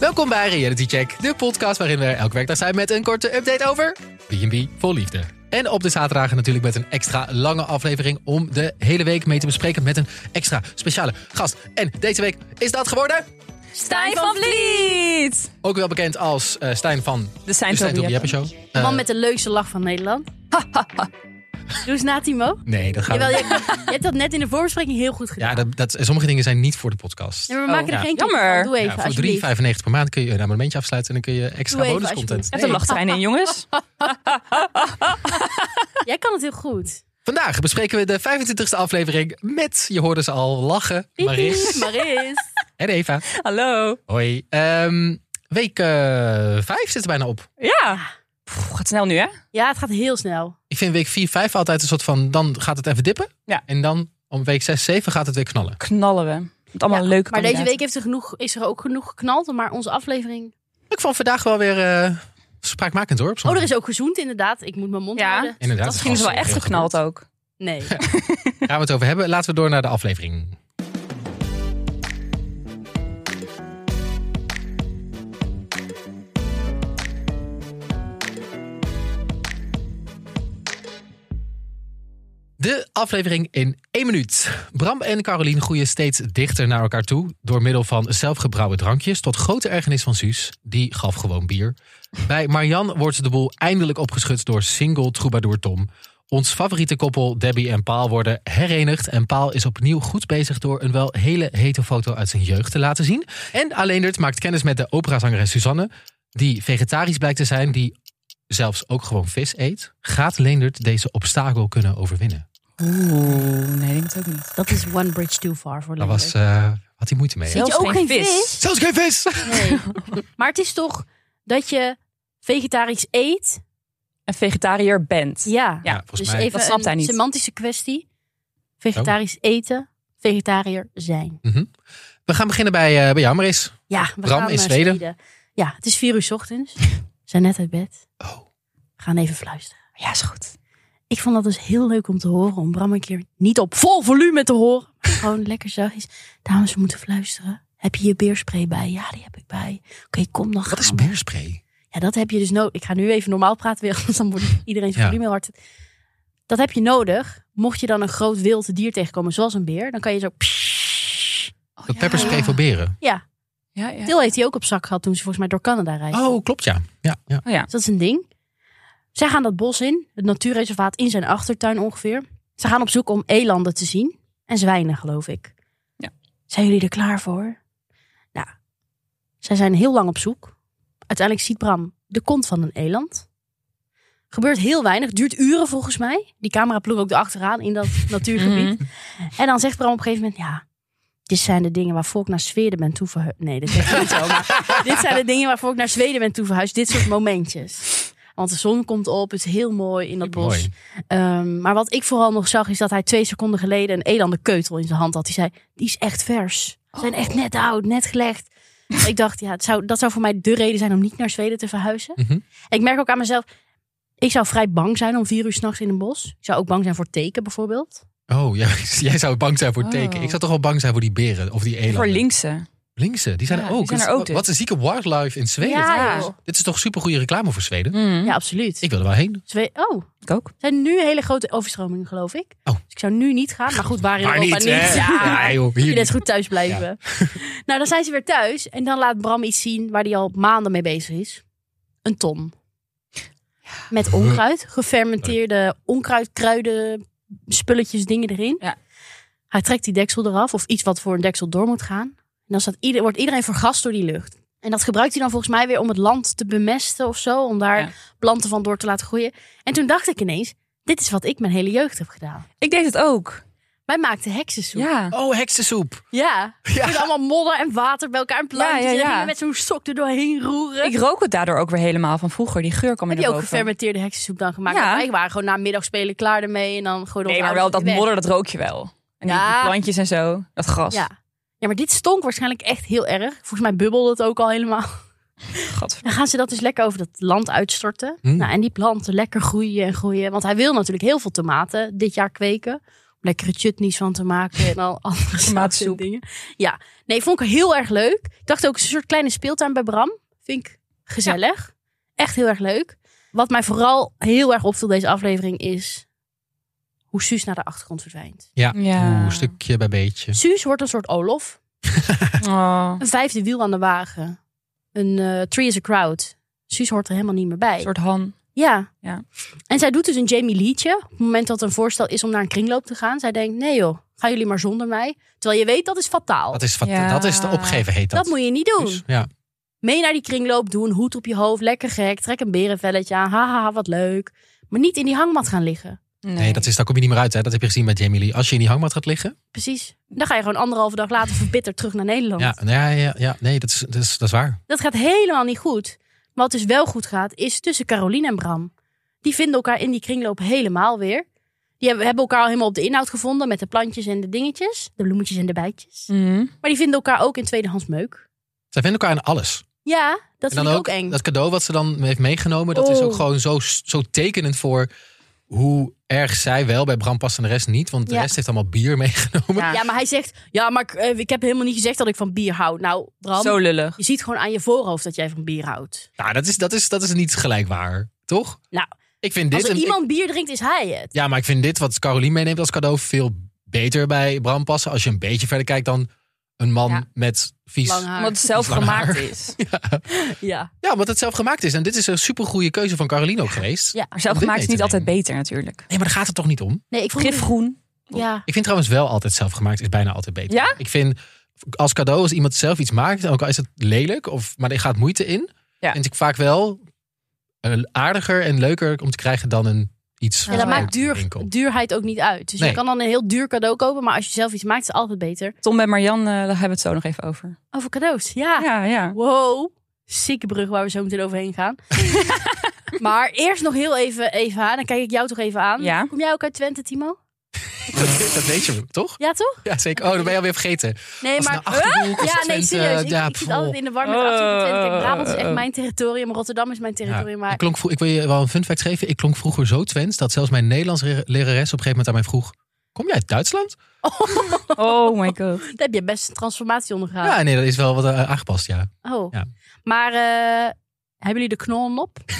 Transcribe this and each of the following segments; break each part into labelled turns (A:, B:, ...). A: Welkom bij Reality Check, de podcast waarin we er elke werkdag zijn met een korte update over B&B vol liefde. En op de zaterdagen natuurlijk met een extra lange aflevering om de hele week mee te bespreken met een extra speciale gast. En deze week is dat geworden
B: Stijn van Vliet!
A: ook wel bekend als eh, Stijn van
C: De
A: de
C: zijn
A: Stijn Tobi Jeppe Show. Eh,
B: Man met de leukste lach van Nederland. Doe eens na, Timo.
A: Nee, dat gaat
B: Jawel, je, je hebt dat net in de voorbespreking heel goed gedaan.
A: Ja, dat, dat, sommige dingen zijn niet voor de podcast. Oh,
B: Nee, maar we maken er
A: ja.
B: geen kip van.
C: Jammer.
B: Doe even,
A: Ja, voor 3,95
B: alsjeblieft.
A: per maand kun je een abonnementje afsluiten en dan kun je extra
B: Doe even,
A: bonuscontent.
B: alsjeblieft.
C: Even
A: Nee.
C: lachtrein in, jongens.
B: Jij kan het heel goed.
A: Vandaag bespreken we de 25e aflevering met, je hoorde ze al lachen,
B: Piep,
A: Maris
B: piep, Maris.
A: en Eva.
C: Hallo.
A: Hoi. Ehm, week 5 zit er bijna op.
C: Ja. Pff, gaat snel nu, hè?
B: Ja, het gaat heel snel.
A: Ik vind week 4, 5 altijd een soort van, dan gaat het even dippen.
C: Ja.
A: En dan om week 6, 7 gaat het weer knallen.
C: Knallen we. Met allemaal
B: Ja,
C: leuke
B: Maar deze
C: kandidaten.
B: week heeft er genoeg, is er ook genoeg geknald. Maar onze aflevering...
A: Ik vond vandaag wel weer eh, spraakmakend hoor. op
B: Oh, er
A: zondag.
B: is ook gezoend, inderdaad. Ik moet mijn mond
C: Ja.
B: houden.
A: Inderdaad.
C: Dat ging ze wel echt geknald ook.
B: Nee.
A: Daar gaan we het over hebben. Laten we door naar de aflevering. De aflevering in één minuut. Bram en Caroline groeien steeds dichter naar elkaar toe... door middel van zelfgebrouwen drankjes... tot grote ergernis van Suus, die gaf gewoon bier. Bij Marian wordt de boel eindelijk opgeschud door single troubadour Tom... Ons favoriete koppel Debbie en Paal worden herenigd. En Paal is opnieuw goed bezig door een wel hele hete foto uit zijn jeugd te laten zien. En Aleendert maakt kennis met de operazangeres Suzanne. Die vegetarisch blijkt te zijn, die zelfs ook gewoon vis eet. Gaat Leendert deze obstakel kunnen overwinnen?
C: Oeh, nee, denk het ook niet.
B: Dat is one bridge too far voor
A: Daar
B: Limburg.
A: was, eh, had hij moeite mee. hè?
B: Zit je
C: Zelfs
B: ook geen
C: geen
B: vis?
C: vis?
A: Zelfs geen vis!
B: Nee. Maar het is toch dat je vegetarisch eet?
C: Een vegetariër bent.
B: Ja.
C: Ja,
A: volgens
B: dus
A: mij.
B: even
C: Dat snapt hij
B: een
C: niet.
B: semantische kwestie. Vegetarisch eten, vegetariër zijn.
A: We gaan beginnen bij, eh, bij jou, Maris.
B: Ja, we
A: Bram
B: gaan
A: in
B: naar
A: Zweden.
B: Ja, het is vier uur 's ochtends. We zijn net uit bed.
A: Oh.
B: We gaan even fluisteren.
C: Ja, is goed.
B: Ik vond dat dus heel leuk om te horen. Om Bram een keer niet op vol volume te horen. Maar gewoon lekker zachtjes. Dames, we moeten fluisteren. Heb je je beerspray bij? Ja, die heb ik bij. Oké, kom dan.
A: Wat is
B: gaan we.
A: beerspray?
B: Ja, dat heb je dus nodig. Ik ga nu even normaal praten weer, anders dan wordt iedereen zijn
A: Ja.
B: volume heel hard. Dat heb je nodig. Mocht je dan een groot wild dier tegenkomen, zoals een beer, dan kan je zo...
A: Dat pepperspray voor beren.
B: Ja,
C: Oh, Ja, ja.
B: Til heeft hij ook op zak gehad toen ze volgens mij door Canada reisde.
A: Oh, klopt ja. ja, ja.
C: Oh ja.
B: Dus dat is een ding. Zij gaan dat bos in, het natuurreservaat in zijn achtertuin ongeveer. Ze gaan op zoek om elanden te zien en zwijnen, geloof ik.
C: Ja.
B: Zijn jullie er klaar voor? Nou, zij zijn heel lang op zoek. Uiteindelijk ziet Bram de kont van een eland. Gebeurt heel weinig, duurt uren volgens mij. Die camera ploeg ook erachteraan in dat natuurgebied.
C: Mhm.
B: En dan zegt Bram op een gegeven moment, ja, dit zijn de dingen waarvoor ik naar Zweden ben toeverhuisd. Nee, dat is niet zo. Maar dit zijn de dingen waarvoor ik naar Zweden ben toeverhuisd. Dit soort momentjes. Want de zon komt op, het is heel mooi in dat bos.
A: Mooi.
B: Ehm, maar wat ik vooral nog zag, is dat hij twee seconden geleden een elandekeutel in zijn hand had. Die zei, die is echt vers. Ze zijn echt net oud, net gelegd. ik dacht, ja, het zou, dat zou voor mij de reden zijn om niet naar Zweden te verhuizen.
A: Mhm.
B: En ik merk ook aan mezelf, ik zou vrij bang zijn om vier uur s'nachts in een bos. Ik zou ook bang zijn voor teken bijvoorbeeld.
A: Oh, ja, jij zou bang zijn voor
C: Oh.
A: teken. Ik zou toch wel bang zijn voor die beren of die elanden.
C: Voor linkse.
A: Linkse, die zijn
C: Ja,
A: er
C: die
A: ook.
C: zijn
A: Dat
C: er
A: is-
C: ook dus.
A: Wat een zieke wildlife in Zweden.
B: ja,
C: ja.
B: joh.
A: Dit is toch super goede reclame voor Zweden?
B: ja absoluut.
A: Ik wil er wel heen.
B: Zwe- oh,
C: Mhm. Ik ook.
B: er zijn nu hele grote overstromingen, geloof ik.
A: Oh.
B: Dus ik zou nu niet gaan. Maar goed, waar in
A: Maar
B: Europa
A: niet, hè?
B: Ja,
A: Ja, joh, hier
B: je net
A: niet.
B: goed thuis blijven. nou, dan zijn ze weer thuis. En dan laat Bram iets zien waar hij al maanden mee bezig is. Een ton. Met onkruid. Gefermenteerde onkruid, kruiden, spulletjes, dingen erin.
C: Ja.
B: Hij trekt die deksel eraf. Of iets wat voor een deksel door moet gaan. En dan staat ieder, wordt iedereen vergast door die lucht. En dat gebruikt hij dan volgens mij weer om het land te bemesten of zo. Om daar
C: Ja.
B: planten van door te laten groeien. En toen dacht ik ineens, dit is wat ik mijn hele jeugd heb gedaan.
C: Ik deed het ook.
B: Wij maakten heksensoep.
C: Ja.
A: Oh, heksensoep.
B: Ja.
A: Ja.
B: Met allemaal modder en water bij elkaar en plantjes.
C: Ja, ja,
B: En
C: ja.
B: gingen met zo'n stok er doorheen roeren.
C: Ik rook het daardoor ook weer helemaal van vroeger. Die geur kwam
B: heb
C: er
B: je ook
C: boven.
B: gefermenteerde heksensoep dan gemaakt?
C: Ja.
B: Ja. Wij waren gewoon na middagspelen klaar ermee. En dan gooiden we
C: Nee,
B: ons
C: maar wel dat
B: ouders weer
C: modder, dat rook je wel. En die
B: Ja.
C: plantjes en zo. Dat gras.
B: weg. Ja. ja, maar dit stonk waarschijnlijk echt heel erg. Volgens mij bubbelde het ook al helemaal.
C: Gadver-
B: Dan gaan ze dat dus lekker over dat land uitstorten.
A: Hmm.
B: Nou, en die planten lekker groeien en groeien. Want hij wil natuurlijk heel veel tomaten dit jaar kweken. Om lekkere chutneys van te maken en al andere
C: Tomatensoep.
B: soorten dingen. Ja, nee, vond ik heel erg leuk. Ik dacht ook, het is een soort kleine speeltuin bij Bram. Vind ik gezellig. Echt heel erg leuk. Wat mij vooral heel erg opviel deze aflevering is... hoe Suus naar de achtergrond verdwijnt.
A: Ja,
C: Ja.
A: Oeh, stukje bij beetje.
B: Suus wordt een soort Olof.
C: Oh,
B: Een vijfde wiel aan de wagen. Een eh, tree is a crowd. Suus hoort er helemaal niet meer bij.
C: een soort Han.
B: Ja.
C: Ja.
B: En zij doet dus een Jamie liedje. Op het moment dat een voorstel is om naar een kringloop te gaan. Zij denkt, nee joh, gaan jullie maar zonder mij. Terwijl je weet, dat is fataal.
A: Dat
B: Dat,
A: is, wat,
C: Ja.
A: dat is de opgeven heet dat.
B: moet je niet doen.
A: Dus, ja.
B: Mee naar die kringloop, doe een hoed op je hoofd. Lekker gek, trek een berenvelletje aan. Haha, wat leuk. Maar niet in die hangmat gaan liggen.
A: Nee, dat is, daar kom je niet meer uit. Hè. Dat heb je gezien met Jamie Lee. Als je in die hangmat gaat liggen.
B: Precies. Dan ga je gewoon anderhalve dag later verbitterd terug naar Nederland.
A: Ja, nou ja, ja, ja, nee, dat is, dat, is, dat is waar.
B: Dat gaat helemaal niet goed. Maar wat dus wel goed gaat, is tussen Caroline en Bram. Die vinden elkaar in die kringloop helemaal weer. Die hebben hebben elkaar al helemaal op de inhoud gevonden met de plantjes en de dingetjes. De bloemetjes en de bijtjes.
A: Hm.
C: Mhm.
B: Maar die vinden elkaar ook in tweedehands meuk.
A: Zij vinden elkaar in alles.
B: Ja, dat
A: En dan
B: vind ik ook eng.
A: Dat cadeau wat ze dan heeft meegenomen, dat is
B: Oh.
A: ook gewoon zo, zo tekenend voor hoe erg zij wel bij Bram past en de rest niet. Want de
B: Ja.
A: rest heeft allemaal bier meegenomen.
B: Ja, maar hij zegt, ja, maar ik, eh, ik heb helemaal niet gezegd dat ik van bier hou. Nou, Bram,
C: Zo lullig.
B: je ziet gewoon aan je voorhoofd dat jij van bier houdt.
A: Nou, dat is, dat, is, dat is niet gelijk waar, toch?
B: Nou,
A: ik vind dit
B: Als er
A: een-
B: iemand bier drinkt, is hij het.
A: Ja, maar ik vind dit wat Carolien meeneemt als cadeau veel beter bij Bram passen. Als je een beetje verder kijkt dan een man
C: Ja.
A: met vies.
B: Lang haar.
C: Omdat het zelf
A: Lang haar.
C: gemaakt is.
B: Ja.
A: Ja, omdat het zelf gemaakt is. En dit is een supergoeie keuze van Carolien ook geweest.
B: ja.
C: Maar
A: Om
C: zelf
A: dit
C: gemaakt is
A: mee
C: niet
A: te
C: altijd beter natuurlijk.
A: Nee, maar daar gaat het toch niet om?
B: Nee, ik vroeg me-
C: Gifgroen.
B: Ja.
A: Ik vind trouwens wel altijd zelf gemaakt is bijna altijd beter.
C: Ja?
A: Ik vind als cadeau, als iemand zelf iets maakt, ook al is het lelijk, of, maar er gaat moeite in,
C: Ja.
A: vind ik vaak wel eh, aardiger en leuker om te krijgen dan een iets.
B: Ja, dat
A: van een
B: maakt duur,
A: winkel.
B: duurheid ook niet uit. Dus
A: Nee.
B: je kan dan een heel duur cadeau kopen, maar als je zelf iets maakt, is het altijd beter.
C: Tom en Marian, eh, daar hebben we het zo nog even over.
B: Over cadeaus, ja.
C: Ja, ja.
B: Wow, zieke brug waar we zo meteen overheen gaan. maar eerst nog heel even even aan, dan kijk ik jou toch even aan.
C: Ja.
B: Kom jij ook uit Twente, Timo?
A: dat, dat weet je toch?
B: Ja, toch?
A: Ja, zeker. Oh, dat ben je alweer vergeten.
B: Nee,
A: Als
B: maar...
A: het nou Achterhoek, als
B: ja,
A: het
B: nee,
A: Twente, eh,
B: serieus. Ik,
A: ja,
B: ik zit
A: pff,
B: altijd in de war met
C: Oh,
B: Achterhoek en Twente. Kijk,
C: oh,
B: Brabant is
C: oh.
B: echt mijn territorium. Rotterdam is mijn territorium.
A: Ja,
B: Maar
A: ik, klonk, vro- ik wil je wel een fun fact geven. Ik klonk vroeger zo Twents dat zelfs mijn Nederlands lerares op een gegeven moment aan mij vroeg: Kom jij uit Duitsland?
C: Oh my god.
B: daar heb je best een transformatie ondergaan.
A: Ja, nee, dat is wel wat eh, aangepast, ja.
B: Oh.
A: Ja.
B: Maar eh, hebben jullie de knollen op?
C: Ja,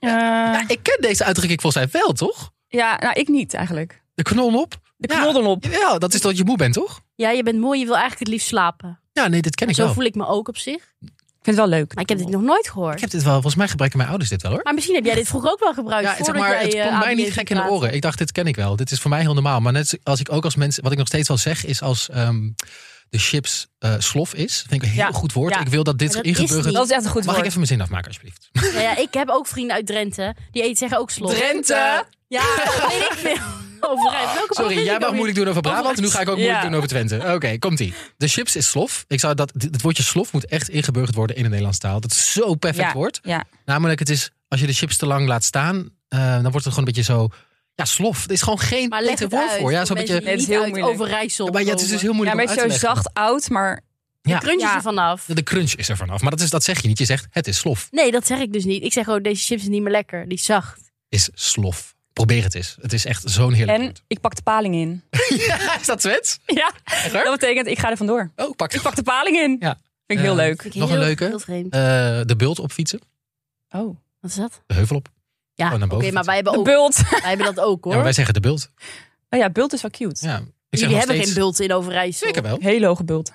B: Ah.
A: ja. Ik ken deze uitdrukking volgens mij wel, toch?
C: Eh, ja, nou ik niet eigenlijk.
A: De knol op?
C: De
A: Ja.
C: knoddel op.
A: Ja, dat is dat je moe bent, toch?
B: Ja, je bent moe, je wil eigenlijk het liefst slapen.
A: Ja, nee, dit ken ik
B: Zo
A: wel.
B: voel ik me ook op zich.
C: Ik vind het wel leuk.
B: Maar ik heb dit nog nooit gehoord.
A: Ik heb dit wel, volgens mij gebruiken mijn ouders dit wel hoor.
B: Maar misschien heb jij dit vroeger ook wel gebruikt.
A: Ja, zeg
B: voordat
A: maar,
B: jij,
A: het
B: eh,
A: komt mij
B: ABN
A: niet gek in de
B: praat.
A: oren. Ik dacht, dit ken ik wel. Dit is voor mij heel normaal. Maar net als ik ook als mensen, wat ik nog steeds wel zeg, is als ehm, de chips eh, slof is. Vind ik een heel
C: Ja,
A: goed woord.
C: ja.
A: Ik wil dat dit
B: Maar dat is
A: ingeburgerd
B: niet.
C: Dat is echt een goed
A: Mag ik
C: woord.
A: even mijn zin afmaken, alsjeblieft?
B: Ja, ja, ik heb ook vrienden uit Drenthe. Die eten zeggen ook slot.
C: Drenthe!
B: Ja, dat weet ik veel. Overijf. Welke provincie
A: Sorry, jij
B: ook
A: mag
B: weer?
A: moeilijk doen over Brabant. Nu ga ik ook moeilijk
C: Ja.
A: doen over Twente. Oké, komt-ie. De chips is slof. Ik zou dat, dit- het woordje slof moet echt ingeburgerd worden in de Nederlandse taal. Dat is zo perfect
C: Ja,
A: woord.
C: ja.
A: Namelijk, het is als je de chips te lang laat staan, eh, dan wordt het gewoon een beetje zo. Ja, slof. Er is gewoon geen
B: Maar leg
A: beter
B: het
A: woord
B: uit
A: voor. Ja,
B: voor
A: zo'n beetje.
B: mensen die
C: Het is
B: niet
C: heel
B: uit
C: moeilijk.
B: Overijssel
A: Maar ja, het is dus
B: komen.
A: heel
C: Ja,
A: moeilijk
C: maar
A: om
C: het
A: uit
C: is
A: te
C: zo
A: leggen.
C: zacht oud, maar
A: Ja.
B: De crunch is
C: Ja.
B: er vanaf.
A: De crunch is er vanaf. Maar dat, is, dat zeg je niet. Je zegt, het is slof.
B: Nee, dat zeg ik dus niet. Ik zeg gewoon, deze chips is niet meer lekker. Die is zacht.
A: Is slof. Probeer het eens. Het is echt zo'n heerlijk
C: en
A: woord.
C: ik pak de paling in.
A: Ja, is dat Twents?
C: Ja,
A: waar?
C: dat betekent ik ga er vandoor.
A: Oh, pak
C: Ik
A: het.
C: pak de paling in.
A: Ja.
C: Vind ik heel
A: Eh,
C: leuk.
B: Vind ik
A: Nog een
B: heel-
A: leuke?
B: Heel vreemd.
A: Eh, de bult op fietsen.
C: Oh,
B: Wat is dat?
A: De heuvel op.
B: Ja,
A: Oh, naar
B: oké,
A: boven.
B: maar wij hebben,
C: de
B: ook,
C: bult.
B: wij hebben dat ook hoor.
A: Ja, maar wij zeggen de bult.
C: Oh ja, bult is wel cute.
A: Ja. Ik zeg
B: Jullie
A: nog
B: hebben
A: steeds,
B: geen bult in Overijssel.
A: Zeker wel.
C: Heel hoge bult.